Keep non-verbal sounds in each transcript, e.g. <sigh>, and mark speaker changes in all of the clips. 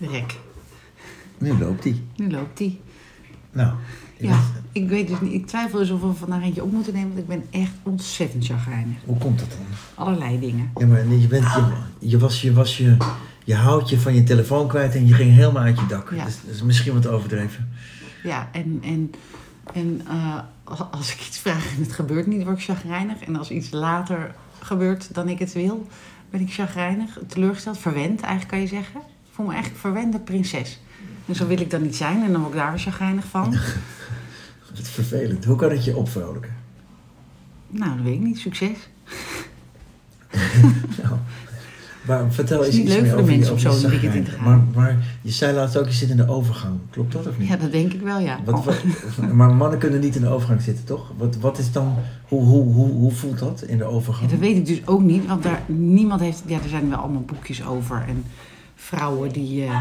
Speaker 1: Rek.
Speaker 2: Nu loopt hij.
Speaker 1: Nu loopt die.
Speaker 2: Nou, je
Speaker 1: Ja,
Speaker 2: weet-
Speaker 1: ik weet dus niet. Ik twijfel dus of we vandaag eentje op moeten nemen, want ik ben echt ontzettend chagrijnig.
Speaker 2: hoe komt dat dan?
Speaker 1: Allerlei dingen.
Speaker 2: Ja, maar je, bent,
Speaker 1: Ah.
Speaker 2: je, je was, je, was je, je houdt je van je telefoon kwijt en je ging helemaal uit je dak. Dus
Speaker 1: Ja.
Speaker 2: Dat, is, dat is misschien wat overdreven.
Speaker 1: Ja, en, en, en eh, als- als ik iets vraag en het gebeurt niet, word ik chagrijnig. En als iets later gebeurt dan ik het wil, ben ik chagrijnig, teleurgesteld, verwend eigenlijk kan je zeggen. Ik voel me eigenlijk een verwende prinses. En zo wil ik dan niet zijn en dan word ik daar weer chagrijnig van.
Speaker 2: Dat is vervelend. Hoe kan het je opvrolijken?
Speaker 1: Nou, dat weet ik niet. Succes.
Speaker 2: Nou, maar vertel
Speaker 1: Het is
Speaker 2: eens
Speaker 1: niet
Speaker 2: iets
Speaker 1: leuk
Speaker 2: meer
Speaker 1: voor de
Speaker 2: over
Speaker 1: mensen
Speaker 2: je-
Speaker 1: om
Speaker 2: over
Speaker 1: zo
Speaker 2: je
Speaker 1: een weekend in te
Speaker 2: zagrijn.
Speaker 1: gaan.
Speaker 2: Maar, maar je zei laatst ook, je zit in de overgang. Klopt dat of niet?
Speaker 1: Ja, dat denk ik wel, ja.
Speaker 2: Wat, wat- maar mannen kunnen niet in de overgang zitten, toch? Wat, wat is dan, hoe, hoe, hoe, hoe voelt dat in de
Speaker 1: Ja,
Speaker 2: overgang?
Speaker 1: dat weet ik dus ook niet, want daar, niemand heeft... Ja, er zijn wel allemaal boekjes over. En vrouwen die... eh,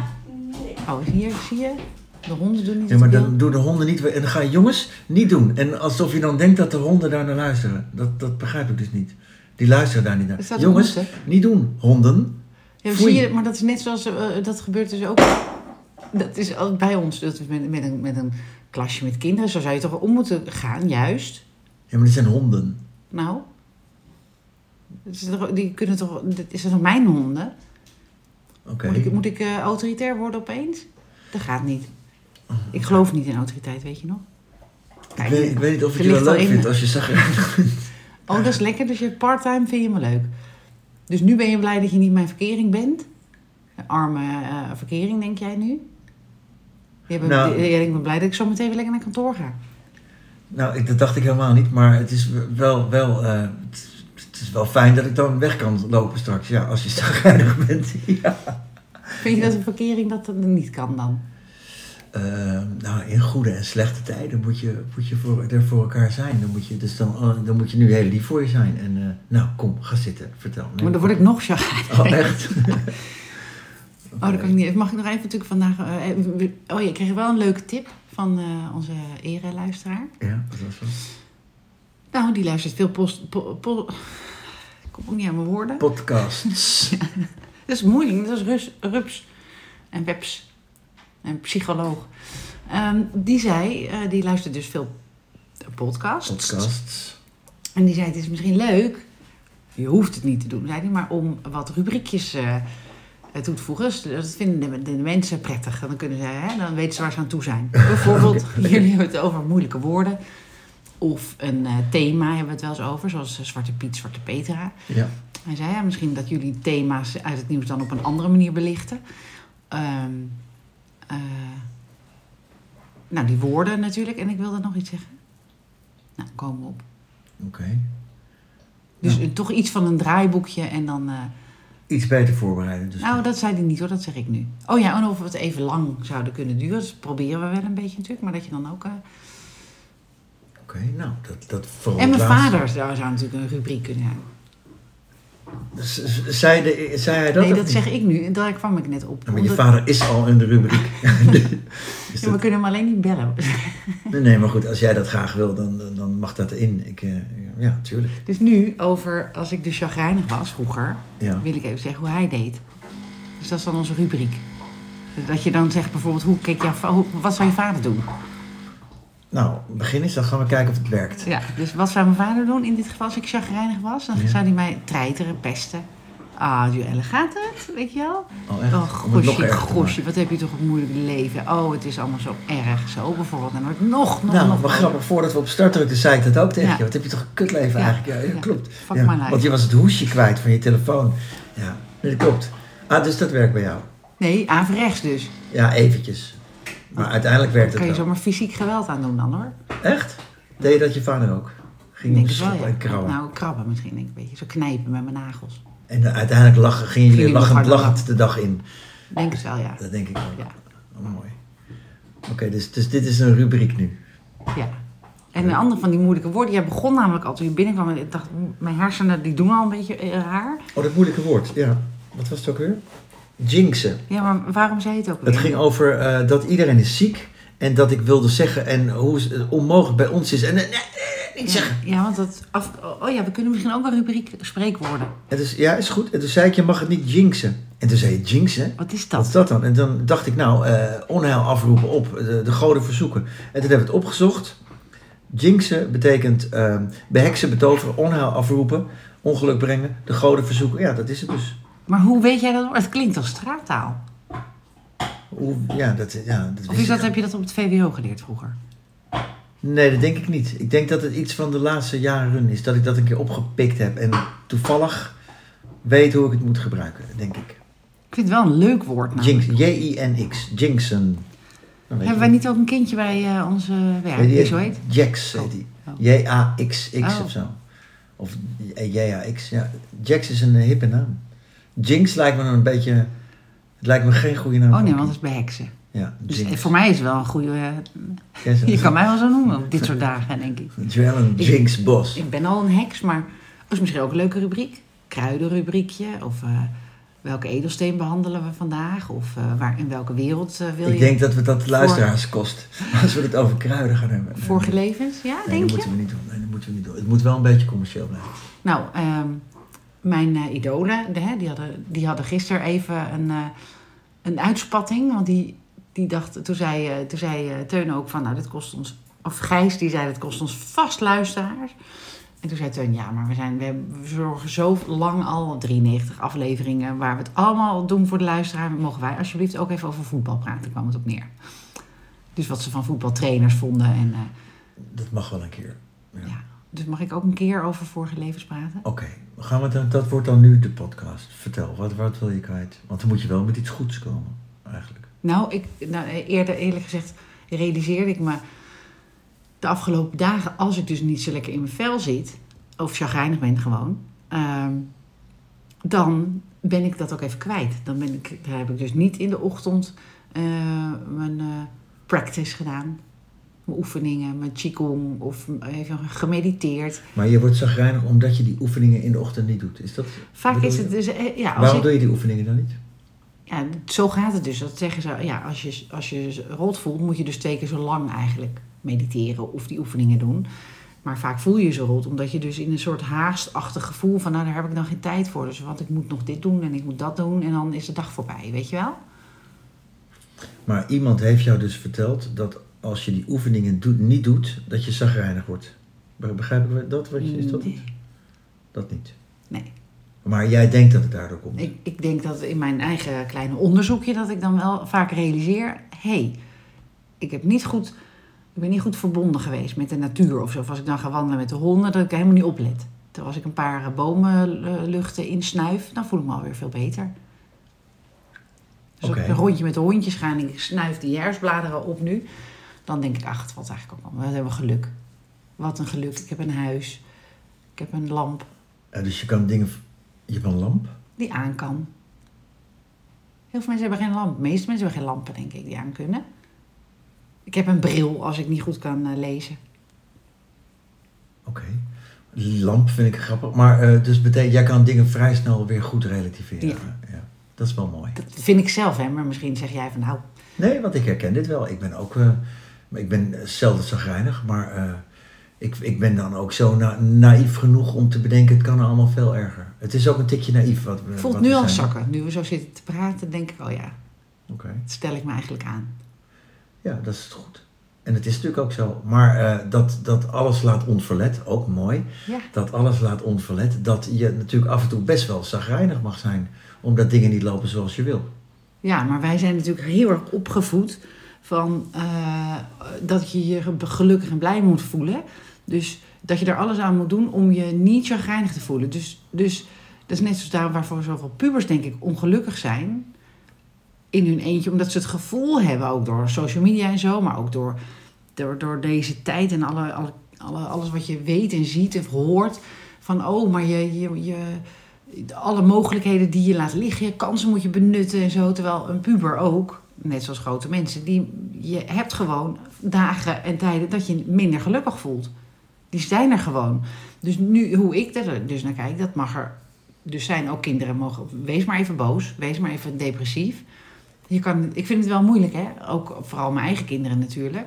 Speaker 1: Oh, hier, zie je? De honden doen niet
Speaker 2: Ja, maar
Speaker 1: wat ik
Speaker 2: dan
Speaker 1: wil.
Speaker 2: doen de honden niet. En dan gaan jongens niet doen. En alsof je dan denkt dat de honden daar naar luisteren. Dat, dat begrijp ik dus niet. Die luisteren daar niet
Speaker 1: Dat
Speaker 2: naar.
Speaker 1: staat op
Speaker 2: Jongens,
Speaker 1: ons,
Speaker 2: niet doen. Honden.
Speaker 1: Ja, maar
Speaker 2: Foei.
Speaker 1: zie je, maar dat is net zoals... eh, dat gebeurt dus ook... Dat is al bij ons. Dat we met, met, een, met een klasje met kinderen. Zo zou je toch om moeten gaan, juist.
Speaker 2: Ja, maar dit zijn honden.
Speaker 1: Nou... het is toch- Die kunnen toch... dit- Is dat nog mijn honden?
Speaker 2: Oké.
Speaker 1: Moet ik, moet ik eh, autoritair worden opeens? Dat gaat niet. Ik geloof niet in autoriteit, weet je nog?
Speaker 2: Oh, Ik weet, ik weet niet of ik
Speaker 1: er
Speaker 2: je wel
Speaker 1: ligt al
Speaker 2: leuk
Speaker 1: in.
Speaker 2: vindt als je zag. <laughs>
Speaker 1: Oh, dat is lekker. Dus je parttime vind je me leuk. Dus nu ben je blij dat je niet mijn verkering bent. Een Arme eh, verkering, denk jij nu? Je bent,
Speaker 2: Nou.
Speaker 1: jij denkt, ik ben blij dat ik zo meteen weer lekker naar kantoor ga.
Speaker 2: Nou, ik, dat dacht ik helemaal niet. Maar het is wel, wel, eh, het, het is wel fijn dat ik dan weg kan lopen straks. Ja, als je zagrijnig bent. <laughs> Ja.
Speaker 1: Vind je dat een verkering dat dat niet kan dan?
Speaker 2: Eh, nou, in goede en slechte tijden moet je, moet je voor, er voor elkaar zijn. Dan moet je, dus dan, oh, dan moet je nu heel lief voor je zijn. En eh, nou, kom, ga zitten. Vertel. Nee.
Speaker 1: Maar dan word ik nog chagrijnig.
Speaker 2: Oh,
Speaker 1: <laughs>
Speaker 2: echt?
Speaker 1: Oh, dat kan ik niet. Mag ik nog even natuurlijk vandaag... eh, eh, oh, je kreeg wel een leuke tip van eh, onze ere-luisteraar.
Speaker 2: ja, dat was wel.
Speaker 1: Nou, die luistert veel post... po- po- ik kom ook niet aan mijn woorden.
Speaker 2: Podcasts.
Speaker 1: Dat is moeilijk. Dat is rus, rups en webs en psycholoog. Ehm, die zei, eh, die luistert dus veel podcasts.
Speaker 2: Podcasts.
Speaker 1: En die zei, het is misschien leuk. Je hoeft het niet te doen, zei hij. Maar om wat rubriekjes eh, eh, toe te voegen. Dus Dat vinden de, de mensen prettig. Dan, kunnen ze, hè, dan weten ze waar ze aan toe zijn. Bijvoorbeeld, jullie hebben het over moeilijke woorden. Of een eh, thema hebben we het wel eens over. Zoals eh, Zwarte Piet, Zwarte Petra.
Speaker 2: Ja.
Speaker 1: Hij zei ja, misschien dat jullie thema's uit het nieuws dan op een andere manier belichten. Ehm, eh, nou, die woorden natuurlijk. En ik wilde nog iets zeggen. Nou, komen we op.
Speaker 2: Oké.
Speaker 1: Dus
Speaker 2: Ja.
Speaker 1: eh, toch iets van een draaiboekje en dan... eh,
Speaker 2: Iets beter voorbereiden. Dus
Speaker 1: nou, dat zei hij niet hoor, dat zeg ik nu. Oh ja, en of we het even lang zouden kunnen duren. Dus proberen we wel een beetje natuurlijk. Maar dat je dan ook... eh,
Speaker 2: Oké, nou, dat, dat vooral
Speaker 1: En
Speaker 2: het
Speaker 1: mijn
Speaker 2: laatste.
Speaker 1: vader zou, zou natuurlijk een rubriek kunnen hebben.
Speaker 2: Z- z- Zei, de, zei hij dat
Speaker 1: nee,
Speaker 2: of
Speaker 1: dat
Speaker 2: niet?
Speaker 1: zeg ik nu. Daar kwam ik net op.
Speaker 2: Ja, maar je
Speaker 1: Omdat-
Speaker 2: vader is al in de rubriek.
Speaker 1: <laughs>
Speaker 2: Dus
Speaker 1: Ja, we
Speaker 2: dat-
Speaker 1: kunnen hem alleen niet bellen. <laughs>
Speaker 2: nee, nee, maar goed, als jij dat graag wil, dan, dan- dan mag dat in. Ik, eh, ja, tuurlijk.
Speaker 1: Dus nu over, als ik dus chagrijnig was vroeger,
Speaker 2: Ja.
Speaker 1: wil ik even zeggen hoe hij deed. Dus dat is dan onze rubriek. Dat je dan zegt bijvoorbeeld, hoe keek jouw, va- hoe- wat zou je vader doen?
Speaker 2: Nou, begin eens, dan gaan we kijken of het werkt.
Speaker 1: Ja, dus wat zou mijn vader doen in dit geval als ik chagrijnig was? Dan
Speaker 2: Ja.
Speaker 1: zou hij mij treiteren, pesten. Ah, Joelle, gaat het? Weet je wel?
Speaker 2: Oh, echt?
Speaker 1: Oh,
Speaker 2: Om het nog
Speaker 1: gosje,
Speaker 2: erger te
Speaker 1: gosje, wat heb je toch een moeilijk leven. Oh, het is allemaal zo erg. Zo bijvoorbeeld. En dan wordt het nog, nog,
Speaker 2: Nou,
Speaker 1: nog.
Speaker 2: maar grappig, voordat we op start drukten, zei ik dat ook tegen
Speaker 1: Ja.
Speaker 2: je. Wat heb je toch een kutleven
Speaker 1: Ja.
Speaker 2: eigenlijk? Ja, ja,
Speaker 1: Ja.
Speaker 2: klopt.
Speaker 1: Fuck
Speaker 2: Ja,
Speaker 1: my life.
Speaker 2: Want je was het hoesje kwijt van je telefoon. Ja, nee, dat klopt. Ah, dus dat werkt bij jou.
Speaker 1: Nee, averechts dus.
Speaker 2: Ja, eventjes. Maar uiteindelijk werkt
Speaker 1: Daar kan je
Speaker 2: het wel.
Speaker 1: zomaar fysiek geweld aan doen dan hoor.
Speaker 2: Echt? Deed je dat je vader ook?
Speaker 1: Ik
Speaker 2: Ging je
Speaker 1: denk het wel,
Speaker 2: schoppen
Speaker 1: ja.
Speaker 2: en krabben.
Speaker 1: Nou, krabben misschien, denk ik een beetje. Zo knijpen met mijn nagels.
Speaker 2: En dan uiteindelijk lachen, gingen jullie
Speaker 1: Gingen nog
Speaker 2: lachend,
Speaker 1: harder
Speaker 2: lachend de dag in.
Speaker 1: Ik Denk het wel, ja.
Speaker 2: Dat denk ik ook.
Speaker 1: Ja.
Speaker 2: Oh, mooi. Oké, dus, dus dit is een rubriek nu.
Speaker 1: ja. En een ander van die moeilijke woorden. Jij begon namelijk al toen je binnenkwam. en Ik dacht, m- mijn hersenen die doen al een beetje eh, raar.
Speaker 2: Oh, dat moeilijke woord. Ja. Wat was het ook weer? Jinxen.
Speaker 1: Ja, maar waarom zei je het ook weer?
Speaker 2: Het ging over eh, dat iedereen is ziek. En dat ik wilde zeggen en hoe het onmogelijk bij ons is. En eh, nee, nee, nee, niet
Speaker 1: ja,
Speaker 2: zeggen.
Speaker 1: ja, want dat... oh Af, oh ja, we kunnen misschien ook een rubriek spreekwoorden.
Speaker 2: En dus, ja, is goed. En toen zei ik, je mag het niet jinxen. En En toen zei je jinx, hè?
Speaker 1: Wat is
Speaker 2: Wat
Speaker 1: dat?
Speaker 2: is dat dan? En dan dacht ik, nou, eh, onheil afroepen op, de, de goden verzoeken. En toen hebben we het opgezocht. Jinxen betekent eh, beheksen, betoveren, onheil afroepen, ongeluk brengen, de goden verzoeken. Ja, dat is het dus.
Speaker 1: Maar hoe weet jij dat? Oh, Het klinkt als straattaal.
Speaker 2: Hoe, ja, dat, ja, dat
Speaker 1: Of
Speaker 2: wist
Speaker 1: is dat,
Speaker 2: ik. nou.
Speaker 1: heb je dat op het VWO geleerd vroeger?
Speaker 2: Nee, dat denk ik niet. Ik denk dat het iets van de laatste jaren is. Dat ik dat een keer opgepikt heb en toevallig weet hoe ik het moet gebruiken, denk ik.
Speaker 1: Ik vind het wel een leuk woord. Nou.
Speaker 2: Jinx, J-I-N-X, Jinxen. Dan weet
Speaker 1: Hebben wij
Speaker 2: je.
Speaker 1: niet ook een kindje bij eh, onze werk
Speaker 2: Weet je,
Speaker 1: die zo heet?
Speaker 2: Jax
Speaker 1: Oh.
Speaker 2: heet die.
Speaker 1: Oh.
Speaker 2: J-A-X-X
Speaker 1: Oh.
Speaker 2: of zo. Of eh, J-A-X, ja. Jax is een eh, hippe naam. Jinx lijkt me een beetje... Het lijkt me geen goede naam.
Speaker 1: Oh
Speaker 2: voor
Speaker 1: nee,
Speaker 2: een
Speaker 1: want dat is
Speaker 2: kind.
Speaker 1: bij heksen.
Speaker 2: Ja,
Speaker 1: Dus
Speaker 2: Jinx.
Speaker 1: eh, voor mij is het wel een goede... eh, <laughs>
Speaker 2: Jij zegt-
Speaker 1: je kan mij wel zo noemen op dit soort dagen, denk ik.
Speaker 2: Joellen Jinx Bos.
Speaker 1: Ik ben al een heks, maar dat is misschien ook een leuke rubriek. Kruidenrubriekje of... eh, Welke edelsteen behandelen we vandaag? Of eh, waar, in welke wereld eh, wil
Speaker 2: Ik
Speaker 1: je
Speaker 2: denk dat we dat de luisteraars kost. <laughs> Als we het over kruiden gaan hebben. Nee,
Speaker 1: vorige
Speaker 2: nee,
Speaker 1: levens? Ja,
Speaker 2: nee,
Speaker 1: denk
Speaker 2: dat
Speaker 1: je?
Speaker 2: moeten we niet doen. Nee, dat moeten we niet doen. Het moet wel een beetje commercieel blijven.
Speaker 1: Nou, ehm, mijn eh, idolen, de, hè, die, hadden, die hadden gisteren even een, eh, een uitspatting. Want die, die dacht, toen zei, eh, toen zei eh, Teun ook van, nou, dat kost ons... Of Gijs, die zei, dat kost ons vast luisteraars. En toen zei Teun, ja, maar we, zijn, we, hebben- we zorgen zo lang al, 93 afleveringen... waar we het allemaal doen voor de luisteraar. Mogen wij alsjeblieft ook even over voetbal praten, kwam het op neer. Dus wat ze van voetbaltrainers vonden. En, eh,
Speaker 2: Dat mag wel een keer. Ja.
Speaker 1: ja. Dus mag ik ook een keer over vorige levens praten?
Speaker 2: Oké, gaan we dan, dat wordt dan nu de podcast. Vertel, wat, wat wil je kwijt? Want dan moet je wel met iets goeds komen, eigenlijk.
Speaker 1: Nou, ik, nou, eerder eerlijk gezegd realiseerde ik me de afgelopen dagen, als ik dus niet zo lekker in mijn vel zit, of chagrijnig ben gewoon, ehm, dan ben ik dat ook even kwijt. Dan, ben ik, dan heb ik dus niet in de ochtend eh, mijn eh, practice gedaan. Mijn oefeningen, mijn qigong of even gemediteerd.
Speaker 2: Maar je wordt zagrijnig omdat je die oefeningen in de ochtend niet doet. Is dat...
Speaker 1: Vaak
Speaker 2: bedoel
Speaker 1: is
Speaker 2: je?
Speaker 1: het dus... eh, Ja, als
Speaker 2: Waarom
Speaker 1: ik,
Speaker 2: doe je die oefeningen dan niet?
Speaker 1: Ja, zo gaat het dus. Dat zeggen ze, ja, als je als je rot voelt, moet je dus twee keer zo lang eigenlijk mediteren of die oefeningen doen. Maar vaak voel je je zo rot, omdat je dus in een soort haastachtig gevoel van, nou daar heb ik dan geen tijd voor. Dus want ik moet nog dit doen en ik moet dat doen en dan is de dag voorbij, weet je wel?
Speaker 2: Maar iemand heeft jou dus verteld dat als je die oefeningen doet, niet doet, dat je zagrijnig wordt. Be- Begrijp ik dat? Wat je, is dat
Speaker 1: Nee.
Speaker 2: niet? Dat niet.
Speaker 1: Nee.
Speaker 2: Maar jij denkt dat het daardoor komt.
Speaker 1: Ik, ik denk dat in mijn eigen kleine onderzoekje dat ik dan wel vaak realiseer, hé, hey, ik heb niet goed, ik ben niet goed verbonden geweest met de natuur of zo. Of als ik dan ga wandelen met de honden, dat ik helemaal niet oplet. Terwijl als ik een paar eh, bomenluchten insnuif, dan voel ik me alweer veel beter. Dus als
Speaker 2: Oké.
Speaker 1: ik een rondje met de hondjes ga en ik snuif die herfstbladeren op nu, dan denk ik, ach, het valt eigenlijk ook wel. We hebben geluk. Wat een geluk. Ik heb een huis. Ik heb een lamp
Speaker 2: Eh, dus je kan dingen... v- Je hebt een lamp?
Speaker 1: die aan kan. Heel veel mensen hebben geen lamp. De meeste mensen hebben geen lampen, denk ik, die aan kunnen. Ik heb een bril als ik niet goed kan eh, lezen.
Speaker 2: Oké. Lamp vind ik grappig. Maar eh, dus betekent, jij kan dingen vrij snel weer goed relativeren.
Speaker 1: Ja.
Speaker 2: Ja. Dat is wel mooi.
Speaker 1: Dat vind ik zelf, hè. Maar misschien zeg jij van, nou,
Speaker 2: Nee, want ik herken dit wel. Ik ben ook, eh, ik ben zelden zagrijnig, maar eh, ik, ik ben dan ook zo na- naïef genoeg om te bedenken, het kan allemaal veel erger. Het is ook een tikje naïef wat we
Speaker 1: het voelt
Speaker 2: wat
Speaker 1: nu
Speaker 2: we
Speaker 1: al
Speaker 2: zijn.
Speaker 1: zakken. Nu we zo zitten te praten, denk ik, oh ja,
Speaker 2: Oké.
Speaker 1: dat stel ik me eigenlijk aan.
Speaker 2: Ja, dat is goed. En het is natuurlijk ook zo. Maar eh, dat, dat alles laat onverlet, ook mooi.
Speaker 1: Ja.
Speaker 2: Dat alles laat onverlet, dat je natuurlijk af en toe best wel zagrijnig mag zijn. Omdat dingen niet lopen zoals je wil.
Speaker 1: Ja, maar wij zijn natuurlijk heel erg opgevoed van eh, dat je je gelukkig en blij moet voelen. Dus dat je er alles aan moet doen om je niet chagrijnig te voelen. Dus, dus dat is net zoals daarom waarvoor zoveel pubers, denk ik, ongelukkig zijn in hun eentje. Omdat ze het gevoel hebben, ook door social media en zo, maar ook door, door, door deze tijd en alle, alle, alle, alles wat je weet en ziet of hoort. Van, oh, maar je, je, je, alle mogelijkheden die je laat liggen, je kansen moet je benutten en zo. Terwijl een puber ook, net zoals grote mensen, die, je hebt gewoon dagen en tijden dat je minder gelukkig voelt. Die zijn er gewoon. Dus nu, hoe ik er dus naar kijk, dat mag er dus zijn. Ook kinderen mogen, wees maar even boos, wees maar even depressief. Je kan, ik vind het wel moeilijk, hè? Ook vooral mijn eigen kinderen natuurlijk.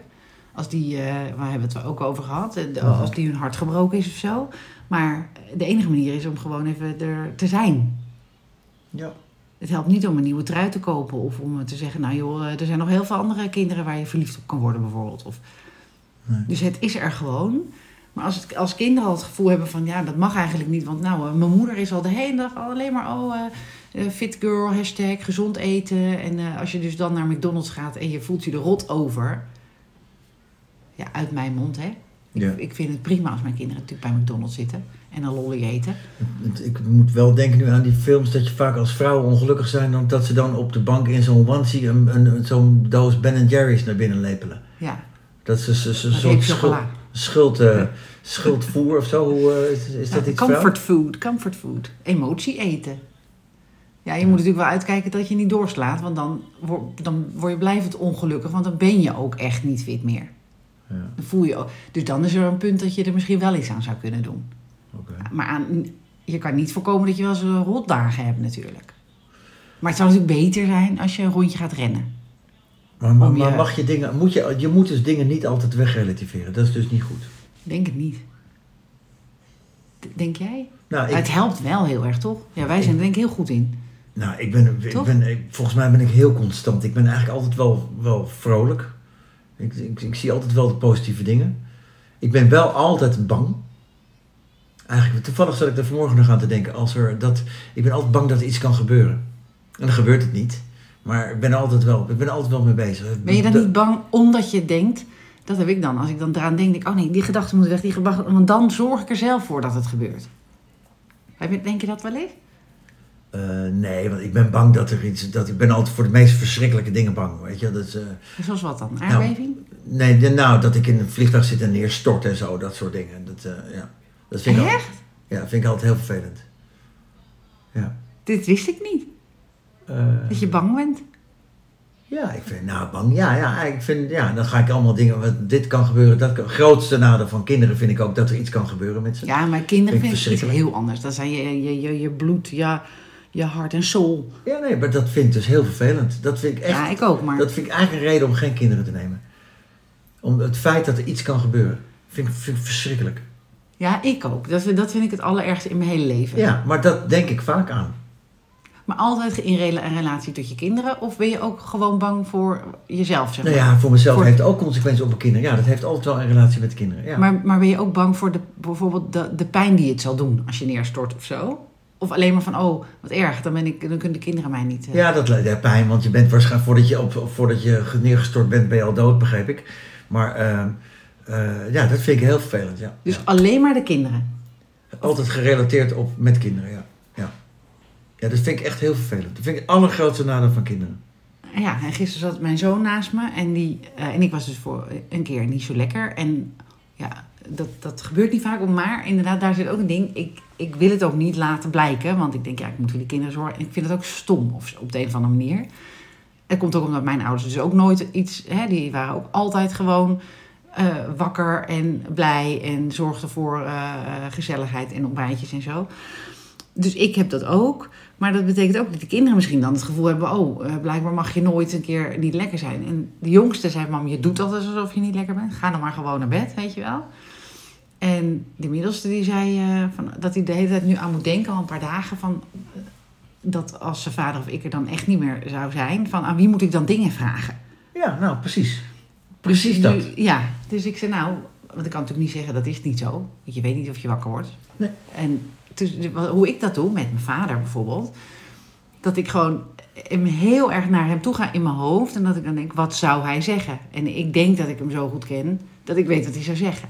Speaker 1: Als die, eh, waar hebben we het ook over gehad, eh, de- als die hun hart gebroken is of zo. Maar de enige manier is om gewoon even er te zijn.
Speaker 2: Ja.
Speaker 1: Het helpt niet om een nieuwe trui te kopen of om te zeggen, nou joh, er zijn nog heel veel andere kinderen waar je verliefd op kan worden bijvoorbeeld. Of...
Speaker 2: Nee.
Speaker 1: Dus het is er gewoon. Maar als, het, als kinderen al het gevoel hebben van, ja, dat mag eigenlijk niet, want nou, eh, mijn moeder is al de hele dag alleen maar, oh, eh, eh, fit girl, hashtag, gezond eten. En eh, als je dus dan naar McDonald's gaat en je voelt je er rot over, ja, uit mijn mond, hè.
Speaker 2: Ja.
Speaker 1: Ik vind het prima als mijn kinderen natuurlijk bij McDonald's zitten en een lolly eten.
Speaker 2: Het- Ik moet wel denken nu aan die films dat je vaak als vrouw ongelukkig zijn dan dat ze dan op de bank in zo'n onesie een, een, een- zo'n doos Ben Jerry's naar binnen lepelen.
Speaker 1: Ja,
Speaker 2: Dat ze ze- ze-
Speaker 1: een
Speaker 2: een soort
Speaker 1: reep
Speaker 2: schuld,
Speaker 1: chocola.
Speaker 2: schuld, eh, schuldvoer of zo. Hoe, eh, is, is dat
Speaker 1: Ja,
Speaker 2: iets
Speaker 1: comfort
Speaker 2: vrouw?
Speaker 1: food, comfort food. Emotie eten. Ja, je moet natuurlijk wel uitkijken dat je niet doorslaat, want dan, wor- dan word je blijvend ongelukkig, want dan ben je ook echt niet fit meer.
Speaker 2: Ja,
Speaker 1: Dan voel je ook- Dus dan is er een punt dat je er misschien wel iets aan zou kunnen doen.
Speaker 2: oké.
Speaker 1: Maar aan, je kan niet voorkomen dat je wel eens eh, rotdagen hebt natuurlijk. Maar het zou natuurlijk beter zijn als je een rondje gaat rennen.
Speaker 2: Maar, maar,
Speaker 1: Om je-
Speaker 2: maar mag je dingen, moet je, je moet dus dingen niet altijd wegrelativeren. Dat is dus niet goed.
Speaker 1: Ik Denk het niet. D- Denk jij?
Speaker 2: Nou, ik,
Speaker 1: Het helpt wel heel erg, toch? Ja, wij zijn er denk ik heel goed in.
Speaker 2: nou, ik ben, ik
Speaker 1: Toch?
Speaker 2: ben ik- volgens mij ben ik heel constant. Ik ben eigenlijk altijd wel, wel vrolijk. Ik, ik, ik zie altijd wel de positieve dingen. Ik ben wel altijd bang. Eigenlijk, toevallig zat ik er vanmorgen nog aan te denken. Als er dat, ik ben altijd bang dat er iets kan gebeuren. En dan gebeurt het niet. Maar ik ben, altijd wel, ik ben er altijd wel mee bezig.
Speaker 1: Ben je dan
Speaker 2: Dat-
Speaker 1: niet bang omdat je denkt, dat heb ik dan. Als ik dan eraan denk, denk ik, oh nee, die gedachte moet weg, die gedachte, want dan zorg ik er zelf voor dat het gebeurt. Heb je- Denk je dat wel eens?
Speaker 2: Eh, nee, want ik ben bang dat er iets... Dat, ik ben altijd voor de meest verschrikkelijke dingen bang. Weet je? Dat is, eh,
Speaker 1: Zoals wat dan?
Speaker 2: Nou.
Speaker 1: Aardbeving?
Speaker 2: Nee, de- nou, dat ik in een vliegtuig zit en neerstort en zo, dat soort dingen. Dat, eh, ja. dat vind, ik al-
Speaker 1: Echt?
Speaker 2: ja, vind ik altijd heel vervelend. Ja.
Speaker 1: Dit wist ik niet.
Speaker 2: Eh,
Speaker 1: Dat je bang bent.
Speaker 2: ja, ik vind, nou, bang. Ja, ja, ik vind, ja, dan ga ik allemaal dingen, wat, dit kan gebeuren, dat kan. Grootste nadeel van kinderen vind ik ook dat er iets kan gebeuren met ze.
Speaker 1: Ja, maar kinderen
Speaker 2: Vind ik
Speaker 1: vinden het iets
Speaker 2: verschrikkelijk.
Speaker 1: heel anders. Dan zijn je, je, je, je bloed, ja, je hart en soul.
Speaker 2: Ja, nee, maar dat vind ik dus heel vervelend. Dat vind ik echt,
Speaker 1: Ja, ik ook, maar
Speaker 2: dat vind ik eigenlijk een reden om geen kinderen te nemen. Om het feit dat er iets kan gebeuren, vind ik, vind ik verschrikkelijk.
Speaker 1: ja, ik ook. Dat, vind- dat vind ik het allerergste in mijn hele leven.
Speaker 2: Ja, maar dat denk ik vaak aan.
Speaker 1: Maar altijd in rela- in relatie tot je kinderen? Of ben je ook gewoon bang voor jezelf, zeg maar?
Speaker 2: Nou ja, voor mezelf
Speaker 1: Voor-
Speaker 2: heeft het ook consequenties op mijn kinderen. Ja, dat heeft altijd wel een relatie met de kinderen. Ja.
Speaker 1: Maar, maar ben je ook bang voor de, bijvoorbeeld de, de pijn die het zal doen als je neerstort of zo? Of alleen maar van, oh, wat erg, dan, ben ik, dan kunnen de kinderen mij niet... eh.
Speaker 2: ja, dat leidt ja, pijn, want je bent waarschijnlijk voordat je, op, op- voordat je ge- neergestort bent, ben je al dood, begreep ik. Maar ehm, eh, ja, dat vind ik heel vervelend. Ja.
Speaker 1: Dus
Speaker 2: Ja.
Speaker 1: alleen maar de kinderen.
Speaker 2: Altijd gerelateerd op met kinderen, ja. ja. Ja, dat vind ik echt heel vervelend. Dat vind ik het allergrootste nadeel van kinderen.
Speaker 1: Ja, en gisteren zat mijn zoon naast me en, die, eh, en ik was dus voor een keer niet zo lekker. En ja, dat, dat gebeurt niet vaak, maar inderdaad, daar zit ook een ding. Ik, ik wil het ook niet laten blijken, want ik denk, ja, ik moet voor die kinderen zorgen. En ik vind het ook stom of, zo, op de een of andere manier. Het komt ook omdat mijn ouders dus ook nooit iets... Hè, die waren ook altijd gewoon eh, wakker en blij en zorgden voor eh, gezelligheid en ontbijtjes en zo. Dus ik heb dat ook. Maar dat betekent ook dat de kinderen misschien dan het gevoel hebben... oh, eh, blijkbaar mag je nooit een keer niet lekker zijn. En de jongste zei, mam, je doet altijd alsof je niet lekker bent. Ga dan maar gewoon naar bed, weet je wel. En de middelste die zei eh, van, dat hij de hele tijd nu aan moet denken... al een paar dagen van... eh, dat als zijn vader of ik er dan echt niet meer zou zijn... van aan wie moet ik dan dingen vragen?
Speaker 2: Ja, nou, precies. Precies dat.
Speaker 1: Nu- ja, dus ik zei nou, want ik kan natuurlijk niet zeggen dat is niet zo. Want je weet niet of je wakker wordt.
Speaker 2: Nee.
Speaker 1: En dus, hoe ik dat doe met mijn vader bijvoorbeeld, dat ik gewoon hem heel erg naar hem toe ga in mijn hoofd en dat ik dan denk, wat zou hij zeggen? En ik denk dat ik hem zo goed ken, dat ik weet wat hij zou zeggen.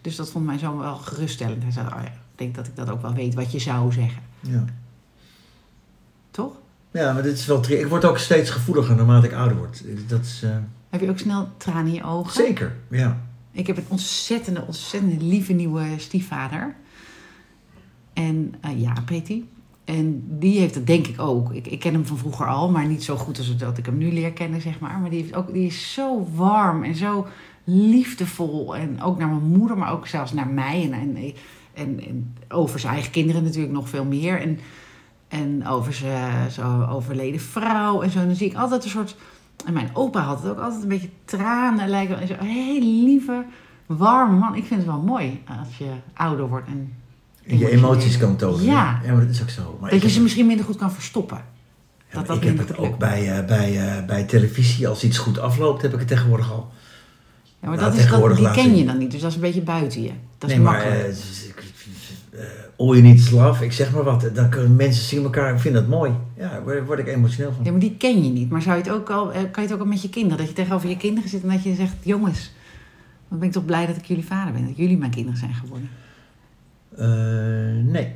Speaker 1: Dus dat vond mijn zoon wel geruststellend. Hij zei, oh ja, ik denk dat ik dat ook wel weet, wat je zou zeggen.
Speaker 2: Ja.
Speaker 1: Toch?
Speaker 2: ja, maar dit is wel... tri- Ik word ook steeds gevoeliger naarmate ik ouder word. Dat is... eh,
Speaker 1: Heb je ook snel tranen in je ogen?
Speaker 2: zeker, ja.
Speaker 1: Ik heb een ontzettende, ontzettende lieve nieuwe stiefvader. En eh, Jaap heet hij. En die heeft dat denk ik ook. Ik, ik ken hem van vroeger al, maar niet zo goed als dat ik hem nu leer kennen, zeg maar. Maar die, heeft ook, die is zo warm en zo liefdevol. En ook naar mijn moeder, maar ook zelfs naar mij. En, en, en, en over zijn eigen kinderen natuurlijk nog veel meer. En, en over zijn zijn overleden vrouw en zo. En dan zie ik altijd een soort... En mijn opa had het ook altijd een beetje tranen. Lijken. En zo, een hele lieve, warme man. Ik vind het wel mooi als je ouder wordt. En
Speaker 2: En je
Speaker 1: emotionele.
Speaker 2: emoties kan tonen.
Speaker 1: Ja.
Speaker 2: ja maar dat is ook zo. Maar
Speaker 1: Dat
Speaker 2: ik
Speaker 1: je
Speaker 2: heb-
Speaker 1: ze misschien minder goed kan verstoppen. Dat
Speaker 2: maar
Speaker 1: dat
Speaker 2: ik heb
Speaker 1: minder
Speaker 2: het
Speaker 1: lukt.
Speaker 2: ook bij, eh, bij, eh, bij televisie, als iets goed afloopt, heb ik het tegenwoordig al.
Speaker 1: Ja, maar
Speaker 2: Nou,
Speaker 1: dat is, dat,
Speaker 2: tegenwoordig
Speaker 1: die
Speaker 2: laat
Speaker 1: ken
Speaker 2: zien.
Speaker 1: je dan niet, dus dat is een beetje buiten je. Dat is
Speaker 2: nee, maar
Speaker 1: makkelijk.
Speaker 2: eh, z- ik- eh, all you need is love, ik zeg maar wat. eh, Dan kunnen mensen zien elkaar, ik vind dat mooi. Ja, daar word- word ik emotioneel van.
Speaker 1: Nee, maar die ken je niet. Maar zou je het ook al, eh, kan je het ook al met je kinderen? Dat je tegenover je kinderen zit en dat je zegt... Jongens, dan ben ik toch blij dat ik jullie vader ben. Dat jullie mijn kinderen zijn geworden.
Speaker 2: Eh, nee.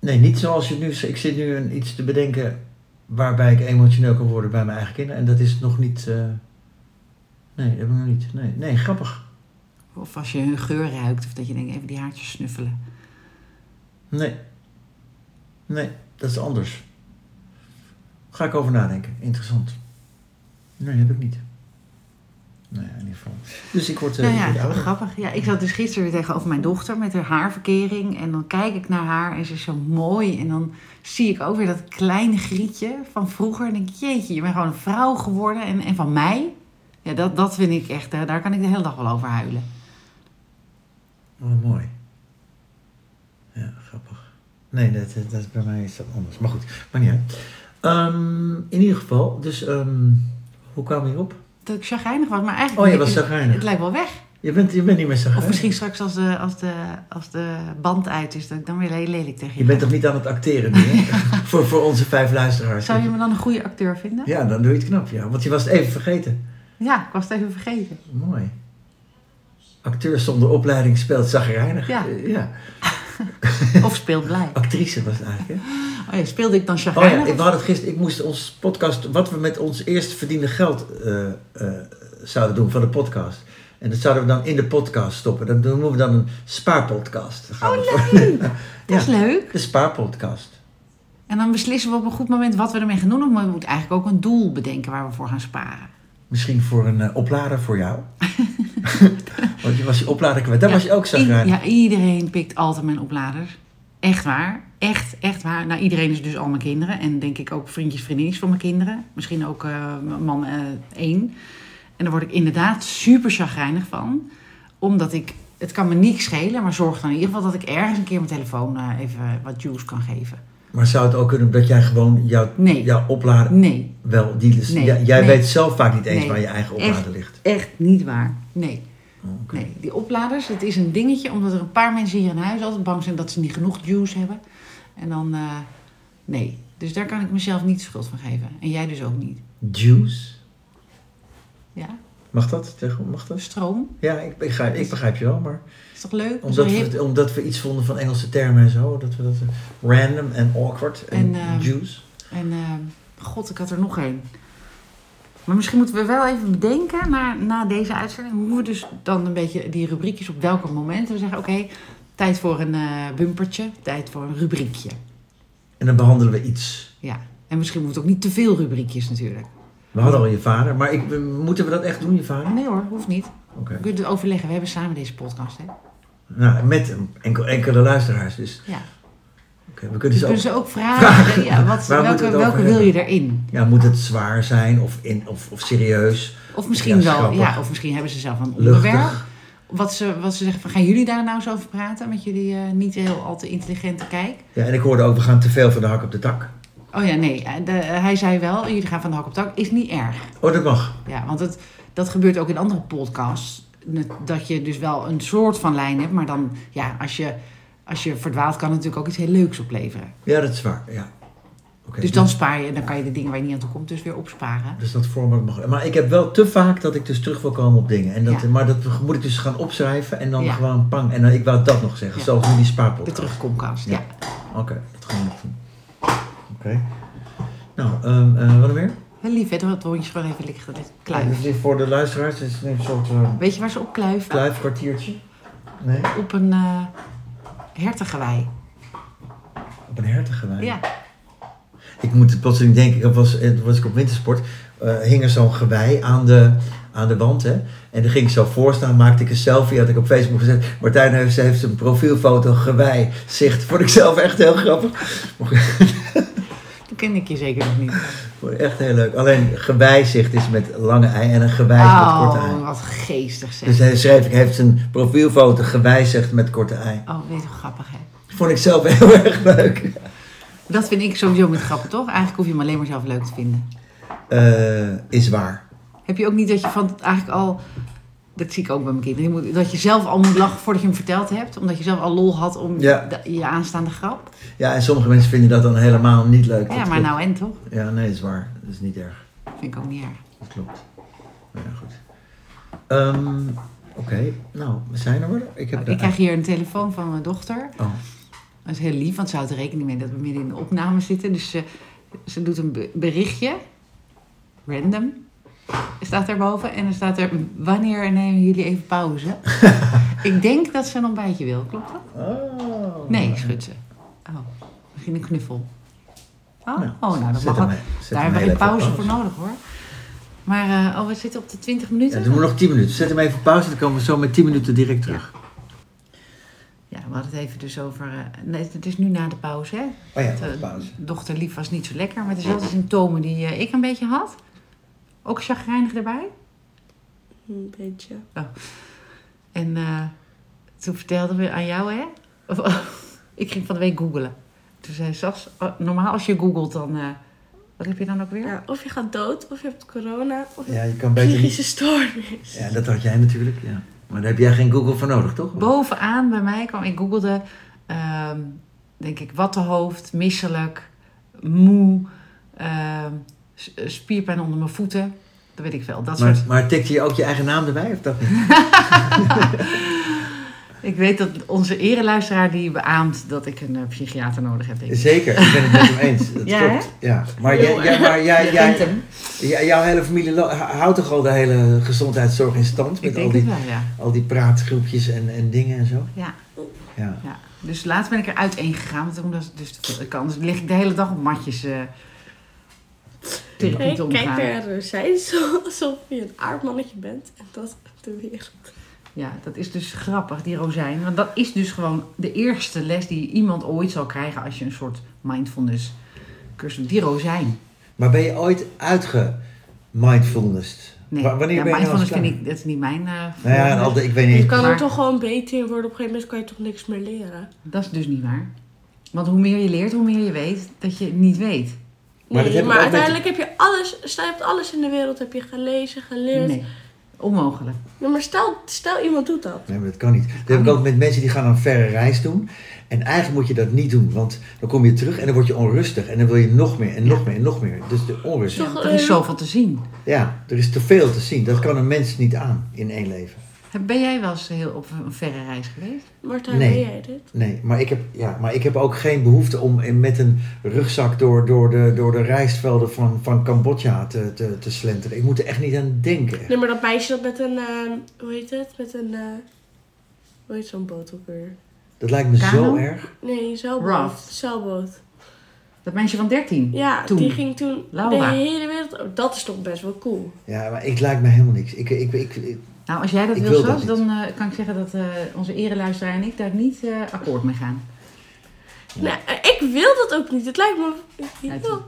Speaker 2: Nee, niet zoals je het nu... z- Ik zit nu een, iets te bedenken waarbij ik emotioneel kan worden bij mijn eigen kinderen. En dat is nog niet... eh, nee, dat heb ik nog niet. Nee, nee grappig.
Speaker 1: Of als je hun geur ruikt. Of dat je denkt, even die haartjes snuffelen.
Speaker 2: Nee. Nee, dat is anders. Ga ik over nadenken. Interessant. Nee, heb ik niet. Nee, in ieder geval. Dus ik word... eh,
Speaker 1: nou
Speaker 2: ik
Speaker 1: ja,
Speaker 2: word
Speaker 1: dat is
Speaker 2: ouder.
Speaker 1: grappig. Ja, ik zat dus gisteren weer tegenover mijn dochter met haar haarverkering. En dan kijk ik naar haar en ze is zo mooi. En dan zie ik ook weer dat kleine grietje van vroeger. En denk ik, jeetje, je bent gewoon een vrouw geworden. En, en van mij? Ja, dat, dat vind ik echt... eh, Daar kan ik de hele dag wel over huilen.
Speaker 2: Oh, mooi. Ja, grappig. Nee, dat, dat- dat, bij mij is dat anders. Maar goed, maar niet uit. Ehm, in ieder geval, dus ehm, hoe kwam je op?
Speaker 1: Dat ik chagrijnig was, maar eigenlijk...
Speaker 2: Oh, je was
Speaker 1: het-
Speaker 2: chagrijnig.
Speaker 1: Het lijkt wel weg.
Speaker 2: Je bent, je bent niet meer zo
Speaker 1: Of
Speaker 2: grijnig.
Speaker 1: misschien straks als de, als, de, als de band uit is, dat ik dan weer heel lelijk tegen je,
Speaker 2: Je bent
Speaker 1: ga.
Speaker 2: toch niet aan het acteren
Speaker 1: <laughs>
Speaker 2: nu, hè? voor, voor onze vijf luisteraars.
Speaker 1: Zou je me dan een goede acteur vinden? Ja,
Speaker 2: Ja, dan doe je het knap, ja. Want je was het even vergeten.
Speaker 1: ik was het even vergeten.
Speaker 2: Mooi. Acteur zonder opleiding speelt zagrijnig.
Speaker 1: Ja.
Speaker 2: Eh, ja.
Speaker 1: Of speel blij.
Speaker 2: Actrice was het eigenlijk, hè?
Speaker 1: Oh ja, speelde ik dan
Speaker 2: Oh ja,
Speaker 1: chagrijnig?
Speaker 2: ik, we hadden het gisteren, ik moest ons podcast, wat we met ons eerst verdiende geld eh, eh, zouden doen van de podcast. En dat zouden we dan in de podcast stoppen. Dat noemen we dan een spaarpodcast. Daar gaan we voor. <laughs>
Speaker 1: Oh leuk, dat is
Speaker 2: Ja.
Speaker 1: leuk.
Speaker 2: De spaarpodcast.
Speaker 1: En dan beslissen we op een goed moment wat we ermee gaan doen. Of we moeten eigenlijk ook een doel bedenken waar we voor gaan sparen.
Speaker 2: Misschien voor een eh, oplader voor
Speaker 1: <laughs>
Speaker 2: jou. Want je was je oplader kwijt. Dat
Speaker 1: Ja,
Speaker 2: was je ook
Speaker 1: i-
Speaker 2: zagrijnig.
Speaker 1: Ja, iedereen pikt altijd mijn opladers. Echt waar. Echt, echt waar. Nou, iedereen is dus al mijn kinderen. En denk ik ook vriendjes, vriendinnetjes van mijn kinderen. Misschien ook eh, man eh, één. En daar word ik inderdaad super chagrijnig van. Omdat ik... Het kan me niks schelen, maar zorg dan in ieder geval dat ik ergens een keer mijn telefoon eh, even wat juice kan geven.
Speaker 2: Maar zou het ook kunnen dat jij gewoon jouw,
Speaker 1: Nee.
Speaker 2: jouw oplader
Speaker 1: Nee,
Speaker 2: wel... Die, is-
Speaker 1: Nee,
Speaker 2: Ja, jij
Speaker 1: nee.
Speaker 2: weet zelf vaak niet eens
Speaker 1: Nee,
Speaker 2: waar je eigen
Speaker 1: echt.
Speaker 2: oplader ligt.
Speaker 1: echt niet waar. Nee.
Speaker 2: Oh, Oké.
Speaker 1: Nee, die opladers, het is een dingetje, omdat er een paar mensen hier in huis altijd bang zijn dat ze niet genoeg juice hebben. En dan, eh, nee. Dus daar kan ik mezelf niet de schuld van geven. En jij dus ook niet.
Speaker 2: Juice?
Speaker 1: Ja,
Speaker 2: Mag dat? Tegen- Mag dat?
Speaker 1: stroom,
Speaker 2: Ja, ik begrijp, ik begrijp je wel, maar
Speaker 1: is toch leuk?
Speaker 2: omdat
Speaker 1: Zo
Speaker 2: we,
Speaker 1: hip.
Speaker 2: het- omdat we iets vonden van Engelse termen en zo, dat we dat eh, random en awkward en,
Speaker 1: En, eh,
Speaker 2: juice.
Speaker 1: En eh, god, ik had er nog één. Maar misschien moeten we wel even bedenken, na, na deze uitzending, hoe we dus dan een beetje die rubriekjes op welke momenten we zeggen, oké, tijd voor een eh, bumpertje, tijd voor een rubriekje.
Speaker 2: En dan behandelen we iets.
Speaker 1: Ja, en misschien moeten we ook niet te veel rubriekjes natuurlijk.
Speaker 2: We hadden al je vader, maar ik, we- moeten we dat echt doen, je vader?
Speaker 1: Nee hoor, hoeft niet.
Speaker 2: Oké.
Speaker 1: We kunnen het overleggen. We hebben samen deze podcast, hè?
Speaker 2: Nou, met een enkel, enkele luisteraars, dus
Speaker 1: Ja.
Speaker 2: oké, we kunnen
Speaker 1: Dus
Speaker 2: ze
Speaker 1: kunnen
Speaker 2: ook...
Speaker 1: ze ook vragen. Ja, wat,
Speaker 2: <laughs> Waar moeten
Speaker 1: welke
Speaker 2: we het
Speaker 1: welke
Speaker 2: over
Speaker 1: wil je erin?
Speaker 2: Ja, moet het zwaar zijn of, in, of, of serieus,
Speaker 1: Of misschien
Speaker 2: Ja,
Speaker 1: wel,
Speaker 2: grappig.
Speaker 1: ja, of misschien hebben ze zelf een onderwerp.
Speaker 2: luchtig?
Speaker 1: Wat ze, wat ze zeggen van, gaan jullie daar nou eens over praten? Met jullie eh, niet heel al te intelligente kijk.
Speaker 2: Ja, en ik hoorde ook, we gaan te veel van de hak op de tak.
Speaker 1: Oh ja, nee, eh, de- eh, hij zei wel, jullie gaan van de hak op de tak. Is niet erg.
Speaker 2: Oh, dat mag.
Speaker 1: Ja, want het, dat gebeurt ook in andere podcasts. Net- Dat je dus wel een soort van lijn hebt. Maar dan, ja, als je, als je verdwaalt, kan het natuurlijk ook iets heel leuks opleveren.
Speaker 2: Ja, dat is waar, ja. Oké.
Speaker 1: Dus dan spaar je en dan kan je de dingen waar je niet aan toe komt dus weer opsparen.
Speaker 2: Dus dat format mag. Maar ik heb wel te vaak dat ik dus terug wil komen op dingen. En dat,
Speaker 1: Ja.
Speaker 2: Maar dat moet ik dus gaan opschrijven en dan
Speaker 1: Ja.
Speaker 2: gewoon pang. En dan, ik wou dat nog zeggen,
Speaker 1: Ja.
Speaker 2: zoals nu die
Speaker 1: De
Speaker 2: spaarpot.
Speaker 1: terugkomkast, ja.
Speaker 2: Ja. Oké, dat gaan we nog doen. Oké. Nou, ehm, eh, wat er meer?
Speaker 1: Wel lief hè, dat het hondjes gewoon even liggen dat het kluif.
Speaker 2: Dit is voor de luisteraars dit is een soort eh
Speaker 1: Weet je waar ze op kluiven?
Speaker 2: kluifkwartiertje. Nee,
Speaker 1: Op een eh hertengewei.
Speaker 2: op een hertengewijn.
Speaker 1: Ja.
Speaker 2: Ik moet plotseling denken, dat was, eh, was ik op wintersport, eh, hing er zo'n gewei aan de, aan de wand. Hè? En daar ging ik zo voor staan, maakte ik een selfie, had ik op Facebook gezet. Martijn heeft, heeft een profielfoto, gewei, zicht. Vond ik zelf echt heel grappig.
Speaker 1: Toen kende ik je zeker nog niet.
Speaker 2: Vond ik echt heel leuk. Alleen gewei, zicht is met lange ei en een gewei is met korte ei.
Speaker 1: Oh, wat geestig
Speaker 2: Dus
Speaker 1: zeg.
Speaker 2: hij schreef, ik heeft zijn profielfoto gewijzigd met korte ei.
Speaker 1: Oh, weet je wel grappig hè.
Speaker 2: <laughs> Vond ik zelf heel erg leuk.
Speaker 1: Dat vind ik sowieso met grappen, toch? Eigenlijk hoef je hem alleen maar zelf leuk te vinden.
Speaker 2: Eh, is waar.
Speaker 1: Heb je ook niet dat je van eigenlijk al... Dat zie ik ook bij mijn kinderen. Je moet, dat je zelf al moet lachen voordat je hem verteld hebt. Omdat je zelf al lol had om
Speaker 2: Ja.
Speaker 1: de- je aanstaande grap.
Speaker 2: Ja, en sommige mensen vinden dat dan helemaal niet leuk.
Speaker 1: Ja,
Speaker 2: Dat
Speaker 1: maar
Speaker 2: klopt.
Speaker 1: nou en toch?
Speaker 2: Ja, nee, dat is waar. Dat is niet erg.
Speaker 1: Vind ik ook niet erg.
Speaker 2: Dat klopt. Nou ja, goed. Ehm, Oké, nou, we zijn er weer. Ik heb
Speaker 1: Oh, Ik
Speaker 2: daar-
Speaker 1: krijg hier een telefoon van mijn dochter.
Speaker 2: Oh,
Speaker 1: Dat is heel lief, want ze houdt er rekening mee dat we midden in de opname zitten. Dus ze, ze doet een be- berichtje. Random. Staat daarboven. En dan staat er, wanneer nemen jullie even
Speaker 2: <laughs>
Speaker 1: pauze? ik denk dat ze een ontbijtje wil, klopt dat?
Speaker 2: Oh.
Speaker 1: Nee, schudt ze. Oh, misschien een knuffel. Oh,
Speaker 2: Nou,
Speaker 1: oh nou, dat
Speaker 2: zet
Speaker 1: mag
Speaker 2: hem
Speaker 1: ook.
Speaker 2: he- zet
Speaker 1: Daar
Speaker 2: hem
Speaker 1: hebben we
Speaker 2: heel
Speaker 1: geen
Speaker 2: even op
Speaker 1: pauze voor nodig hoor. Maar, eh, oh, we zitten op de 20
Speaker 2: Ja,
Speaker 1: minuten.
Speaker 2: doen we nog 10 minuten. Zet hem even op pauze, dan komen we zo met 10 minuten direct terug.
Speaker 1: Ja, we hadden het even dus over... eh, nee, het is nu na de pauze, hè?
Speaker 2: Oh ja,
Speaker 1: Eh,
Speaker 2: pauze.
Speaker 1: Dochter Lief was niet zo lekker, maar dezelfde symptomen die eh, ik een beetje had. Ook chagrijnig erbij.
Speaker 3: Een beetje.
Speaker 1: En eh, toen vertelden we aan jou, hè? Of- <laughs> ik ging van de week googelen. Toen zei Sas, oh, normaal als je googelt dan... eh, wat heb je dan ook weer?
Speaker 3: Ja, of je gaat dood, of je hebt corona, of je
Speaker 2: Ja,
Speaker 3: hebt
Speaker 2: je kan beter niet...
Speaker 3: psychische stoornis.
Speaker 2: Ja, dat had jij natuurlijk, ja. Maar daar heb jij geen Google voor nodig, toch?
Speaker 1: Bovenaan bij mij kwam, ik googelde, ehm, denk ik, wattenhoofd, misselijk, moe, ehm, s- eh, spierpijn onder mijn voeten. Dat weet ik wel. Dat
Speaker 2: maar,
Speaker 1: soort.
Speaker 2: maar tikte je ook je eigen naam erbij, of dat niet?
Speaker 1: Ik weet dat onze ereluisteraar die beaamt dat ik een eh, psychiater nodig heb. Denk ik.
Speaker 2: Zeker, ik ben het met hem
Speaker 1: <laughs>
Speaker 2: eens. Dat
Speaker 1: Ja,
Speaker 2: klopt. Ja. Maar, jij,
Speaker 1: Heel
Speaker 2: jij, maar jij,
Speaker 1: Kent
Speaker 2: jij,
Speaker 1: hem?
Speaker 2: jij- jouw hele familie lo- houdt toch al de hele gezondheidszorg in stand?
Speaker 1: Ik
Speaker 2: Met
Speaker 1: denk
Speaker 2: al
Speaker 1: het
Speaker 2: die,
Speaker 1: wel, ja.
Speaker 2: al die praatgroepjes en, en dingen en zo?
Speaker 1: ja.
Speaker 2: Ja.
Speaker 1: ja. Dus laatst ben ik er uiteen gegaan, want omdat het dus te veel kan. Dus lig ik de hele dag op matjes. eh
Speaker 3: Nee,
Speaker 1: therapie te omgaan.
Speaker 3: kijk naar de zijde alsof je een aardmannetje bent. En dat is de wereld.
Speaker 1: Ja, dat is dus grappig, die rozijn. Want dat is dus gewoon de eerste les die iemand ooit zal krijgen als je een soort mindfulness cursus doet. Die rozijn.
Speaker 2: Maar ben je ooit uitgemindfulnessed?
Speaker 1: Nee,
Speaker 2: Wa- Wanneer
Speaker 1: ja,
Speaker 2: ben je nou eens
Speaker 1: mindfulness vind
Speaker 2: klaar?
Speaker 1: ik, dat is niet mijn eh,
Speaker 2: Nou ja, en al die- ik weet
Speaker 3: Je
Speaker 2: niet.
Speaker 3: kan
Speaker 1: Maar-
Speaker 3: er toch gewoon beter in worden. Op een gegeven moment kan je toch niks meer leren.
Speaker 1: Dat is dus niet waar. Want hoe meer je leert, hoe meer je weet dat je het niet weet.
Speaker 2: Maar dat
Speaker 3: Nee,
Speaker 2: heb ik
Speaker 3: maar,
Speaker 2: ook met-
Speaker 3: uiteindelijk heb je alles, stel je hebt alles in de wereld heb je gelezen, geleerd.
Speaker 1: Nee, onmogelijk.
Speaker 3: Ja, maar stel, stel iemand doet dat.
Speaker 2: Nee, maar dat kan niet. Dat heb ik
Speaker 1: niet.
Speaker 2: ook met mensen die gaan een verre reis doen. En eigenlijk moet je dat niet doen, want dan kom je terug en dan word je onrustig. En dan wil je nog meer en nog meer en nog meer. Dus de onrust.
Speaker 3: Toch,
Speaker 1: Er is
Speaker 3: eh,
Speaker 1: zoveel te zien.
Speaker 2: Ja, er is te veel te zien. Dat kan een mens niet aan in één leven.
Speaker 1: Ben jij wel eens heel op een verre reis geweest?
Speaker 3: Martijn,
Speaker 2: Nee.
Speaker 3: weet jij dit?
Speaker 2: Nee, maar ik heb, ja, maar ik heb ook geen behoefte om in- met een rugzak door, door, de, door de rijstvelden van, van Cambodja te, te, te slenteren. Ik moet er echt niet aan denken. echt.
Speaker 3: Nee, maar dat meisje dat met een, ehm, hoe heet het? Met een, eh, hoe heet zo'n boot ook weer?
Speaker 2: Dat lijkt me zo
Speaker 1: Kano?
Speaker 2: erg.
Speaker 3: Nee, zeilboot.
Speaker 1: Raft.
Speaker 3: Zeilboot.
Speaker 1: Dat meisje van 13?
Speaker 3: Ja,
Speaker 1: Toen.
Speaker 3: die ging toen
Speaker 1: Laura.
Speaker 3: de hele wereld... Oh, dat is toch best wel cool.
Speaker 2: Ja, maar het lijkt me helemaal niks. Ik, ik, ik, ik-
Speaker 1: Nou, als jij dat
Speaker 2: Ik
Speaker 1: wil,
Speaker 2: wil
Speaker 1: Sas,
Speaker 2: dat
Speaker 1: dan eh, kan ik zeggen dat eh, onze ereluisteraar en ik daar niet eh, akkoord mee gaan.
Speaker 3: Nou, eh, ik wil dat ook niet. Het lijkt me...
Speaker 1: Ja,
Speaker 3: Ik
Speaker 1: toen.
Speaker 3: wil...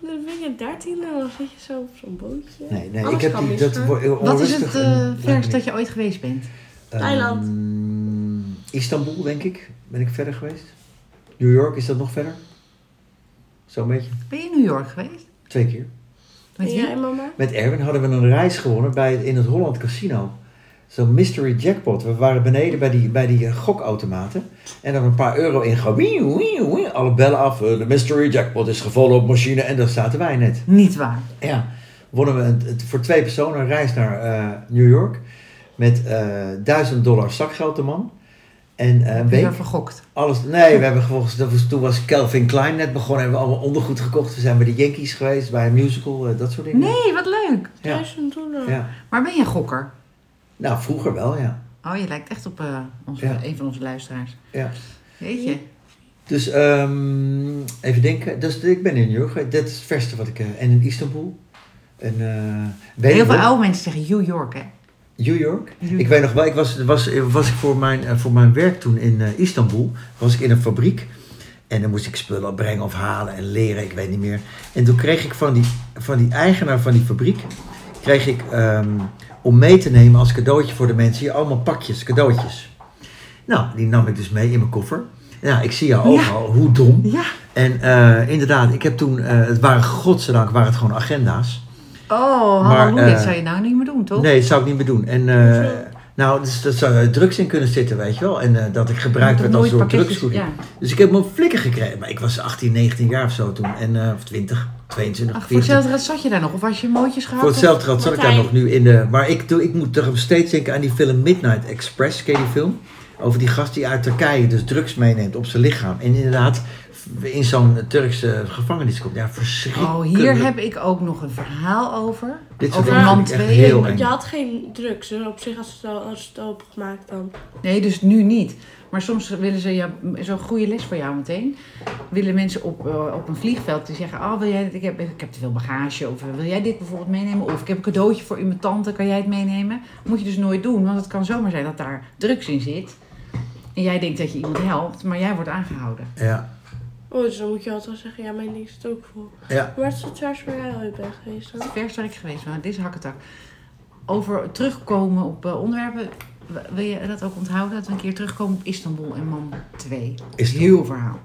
Speaker 3: Dan ben je dertien en dan zit je zo op zo'n bootje.
Speaker 2: nee, nee, ik
Speaker 3: Alles
Speaker 2: heb
Speaker 3: kan
Speaker 2: die, dat
Speaker 3: misgaan.
Speaker 2: wo- onrustig.
Speaker 1: Wat is het
Speaker 2: en-
Speaker 1: eh
Speaker 2: lijkt me
Speaker 1: verst
Speaker 2: niks.
Speaker 1: dat je ooit geweest bent?
Speaker 3: Thailand.
Speaker 2: Ehm, Istanbul, denk ik. Ben ik verder geweest. New York, is dat nog verder? Zo'n beetje.
Speaker 1: Ben je in New York geweest?
Speaker 2: Twee keer.
Speaker 1: Met
Speaker 3: En
Speaker 1: wie?
Speaker 3: jij, mama?
Speaker 2: Met Erwin hadden we een reis gewonnen bij, in het Holland Casino. Zo'n mystery jackpot. We waren beneden bij die, bij die eh, gokautomaten. En dan een paar euro ingegooid. Wieu, wieu, wieu. Alle bellen af. Eh, De mystery jackpot is gevallen op machine. En daar zaten wij net.
Speaker 1: Niet waar.
Speaker 2: Ja, wonnen we een, het- voor twee personen een reis naar eh, New York. Met eh 1000 dollar zakgeld de man. En eh, een
Speaker 1: Ben je
Speaker 2: week
Speaker 1: daar vergokt?
Speaker 2: alles. Nee, we hebben volgens. dat was- Toen was Calvin Klein net begonnen. Hebben we allemaal ondergoed gekocht. We zijn bij de Yankees geweest, bij een musical, eh, dat soort dingen.
Speaker 1: Nee, wat leuk.
Speaker 2: Ja.
Speaker 3: Duizend dollar.
Speaker 2: ja.
Speaker 1: Maar ben je een gokker?
Speaker 2: Nou, vroeger wel, ja.
Speaker 1: Oh, je lijkt echt op eh, onze,
Speaker 2: Ja.
Speaker 1: een van onze luisteraars.
Speaker 2: Ja.
Speaker 1: Weet je?
Speaker 2: Dus ehm, even denken. Dus ik ben in New York. geweest. Dat is het verste wat ik... eh, en in Istanbul. En, eh, weet
Speaker 1: Heel
Speaker 2: ik
Speaker 1: veel
Speaker 2: nog,
Speaker 1: oude mensen zeggen New York, hè?
Speaker 2: New York.
Speaker 1: New
Speaker 2: Ik weet nog wel, ik was, was, was ik voor, mijn, eh, voor mijn werk toen in eh, Istanbul. Was ik in een fabriek. En dan moest ik spullen brengen of halen en leren. Ik weet niet meer. En toen kreeg ik van die, van die eigenaar van die fabriek... Kreeg ik ehm, om mee te nemen als cadeautje voor de mensen. Hier allemaal pakjes, cadeautjes. Nou, die nam ik dus mee in mijn koffer. Nou, ik zie jou
Speaker 1: Ja.
Speaker 2: overal. Hoe dom.
Speaker 1: Ja.
Speaker 2: En eh, inderdaad, ik heb toen, eh, het waren godzijdank waren het gewoon agenda's.
Speaker 1: Oh,
Speaker 2: Maar,
Speaker 1: halleluja.
Speaker 2: eh,
Speaker 1: dat zou je nou niet meer doen, toch?
Speaker 2: Nee, dat zou ik niet meer doen. En eh,
Speaker 3: Hoezo?
Speaker 2: nou, dus, dat zou eh, drugs in kunnen zitten, weet je wel. En eh, dat ik gebruikt
Speaker 1: Je
Speaker 2: werd
Speaker 1: moet nooit
Speaker 2: als soort
Speaker 1: pakketjes-
Speaker 2: drugsgoeding.
Speaker 1: Ja.
Speaker 2: Dus ik heb mijn flikker gekregen. Maar ik was 18, 19 jaar of zo toen. En, eh, of 20, 22,
Speaker 1: Ach, voor
Speaker 2: 24.
Speaker 1: hetzelfde geld zat je daar nog? Of was je mootjes gehad?
Speaker 2: Voor hetzelfde geld zat ik daar
Speaker 3: Martijn.
Speaker 2: nog nu in de... Maar ik, doe- ik moet toch steeds denken aan die film Midnight Express. Ken je die film? Over die gast die uit Turkije dus drugs meeneemt op zijn lichaam. En inderdaad in zo'n Turkse gevangenis komt. Ja, verschrikkelijk.
Speaker 1: Oh, hier heb ik ook nog een verhaal over.
Speaker 2: Dit soort
Speaker 1: over
Speaker 2: dingen
Speaker 1: man
Speaker 2: vind ik echt
Speaker 1: 2.
Speaker 2: heel eng.
Speaker 3: Je had geen drugs, dus op zich als het al, als het al opgemaakt dan.
Speaker 1: Nee, dus nu niet. Maar soms willen ze, ja, zo'n goede les voor jou meteen, willen mensen op, eh, op een vliegveld die zeggen, oh, wil jij dit? Ik heb, ik heb te veel bagage, of eh, wil jij dit bijvoorbeeld meenemen? Of ik heb een cadeautje voor u, mijn tante, kan jij het meenemen? Moet je dus nooit doen, want het kan zomaar zijn dat daar drugs in zit. En jij denkt dat je iemand helpt, maar jij wordt aangehouden.
Speaker 2: Ja,
Speaker 3: Oh, dus dan moet je altijd zeggen, ja, mijn ding zit ook vol.
Speaker 2: ja.
Speaker 3: Waar is het vers waar jij ooit bent geweest dan?
Speaker 1: Het verst waar ik geweest ben, dit is hakketak. Over terugkomen op eh, onderwerpen, w- wil je dat ook onthouden? Dat we een keer terugkomen op Istanbul en man 2.
Speaker 2: Is het
Speaker 1: Heel verhaal.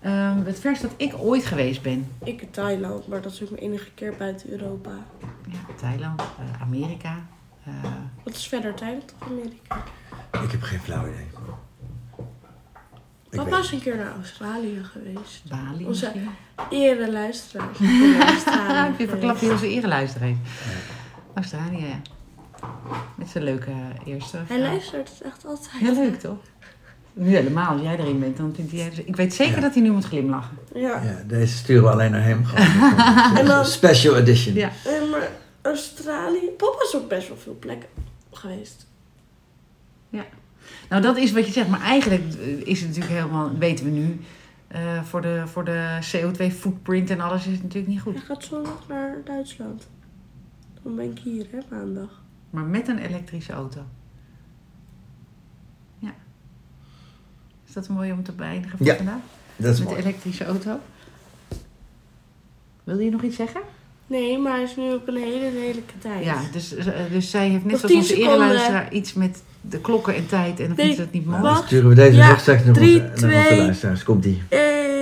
Speaker 1: Ehm, het verst dat ik ooit geweest ben.
Speaker 3: Ik in Thailand, maar dat is ook mijn enige keer buiten Europa.
Speaker 1: Ja, Thailand, eh, Amerika. eh,
Speaker 3: Wat is verder Thailand of Amerika?
Speaker 2: Ik heb geen flauw idee. Ik
Speaker 3: Papa
Speaker 2: weet.
Speaker 3: is een keer naar Australië geweest.
Speaker 1: Bali
Speaker 3: Onze-
Speaker 1: misschien.
Speaker 3: Ere luisteraar. Ik ben naar <laughs> Australië
Speaker 1: Ah, je verklapt
Speaker 3: geweest.
Speaker 1: heel zijn ereluister heeft. Australië, ja. Met zijn leuke eerste.
Speaker 3: Hij
Speaker 1: verhaal.
Speaker 3: luistert het echt altijd.
Speaker 1: Heel leuk, toch? Nu helemaal, als jij erin bent, dan vindt hij... Ik weet zeker
Speaker 2: Ja.
Speaker 1: dat hij nu moet glimlachen.
Speaker 3: Ja.
Speaker 2: Ja, deze sturen we alleen naar hem. Gewoon.
Speaker 3: <laughs> En dan-
Speaker 2: Special edition.
Speaker 1: Ja.
Speaker 3: Eh, maar Australië... Papa is op best wel veel plekken geweest.
Speaker 1: Nou, dat is wat je zegt. Maar eigenlijk eh, is het natuurlijk helemaal, weten we nu, eh, voor, de, voor de CO2-footprint en alles is het natuurlijk niet
Speaker 3: Hij
Speaker 1: goed.
Speaker 3: gaat zondag naar Duitsland. Dan ben ik hier, hè, maandag.
Speaker 1: Maar met een elektrische auto. Ja. Is dat mooi om te beëindigen voor
Speaker 2: Ja,
Speaker 1: vandaag?
Speaker 2: Dat is
Speaker 1: met
Speaker 2: mooi.
Speaker 1: de elektrische auto. Wil je nog iets zeggen?
Speaker 3: Nee, maar hij is nu op een hele lelijke tijd.
Speaker 1: Ja, dus, eh, dus zij heeft net
Speaker 3: Nog
Speaker 1: zoals
Speaker 3: tien
Speaker 1: onze
Speaker 3: seconden.
Speaker 1: ereluisteraar iets met de klokken en tijd. En dan
Speaker 3: Nee,
Speaker 1: vindt ze dat niet
Speaker 2: Nou,
Speaker 1: mooi.
Speaker 2: dan
Speaker 3: Wacht.
Speaker 2: sturen we deze
Speaker 3: Ja,
Speaker 2: rechtstreeks eh, naar
Speaker 3: drie,
Speaker 2: onze, naar onze
Speaker 3: twee.
Speaker 2: luisteraars. Komt die.
Speaker 3: Eh,